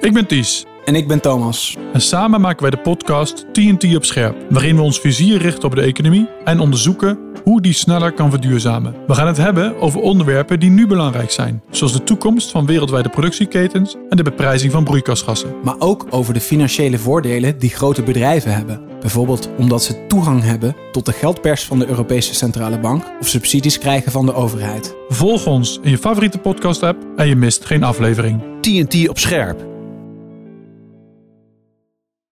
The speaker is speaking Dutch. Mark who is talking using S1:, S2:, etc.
S1: Ik ben Ties
S2: En ik ben Thomas.
S1: en samen maken wij de podcast TNT op scherp, waarin we ons vizier richten op de economie en onderzoeken hoe die sneller kan verduurzamen. We gaan het hebben over onderwerpen die nu belangrijk zijn, zoals de toekomst van wereldwijde productieketens en de beprijzing van broeikasgassen.
S2: Maar ook over de financiële voordelen die grote bedrijven hebben. Bijvoorbeeld omdat ze toegang hebben tot de geldpers van de Europese Centrale Bank of subsidies krijgen van de overheid.
S1: Volg ons in je favoriete podcast app en je mist geen aflevering.
S3: TNT op scherp.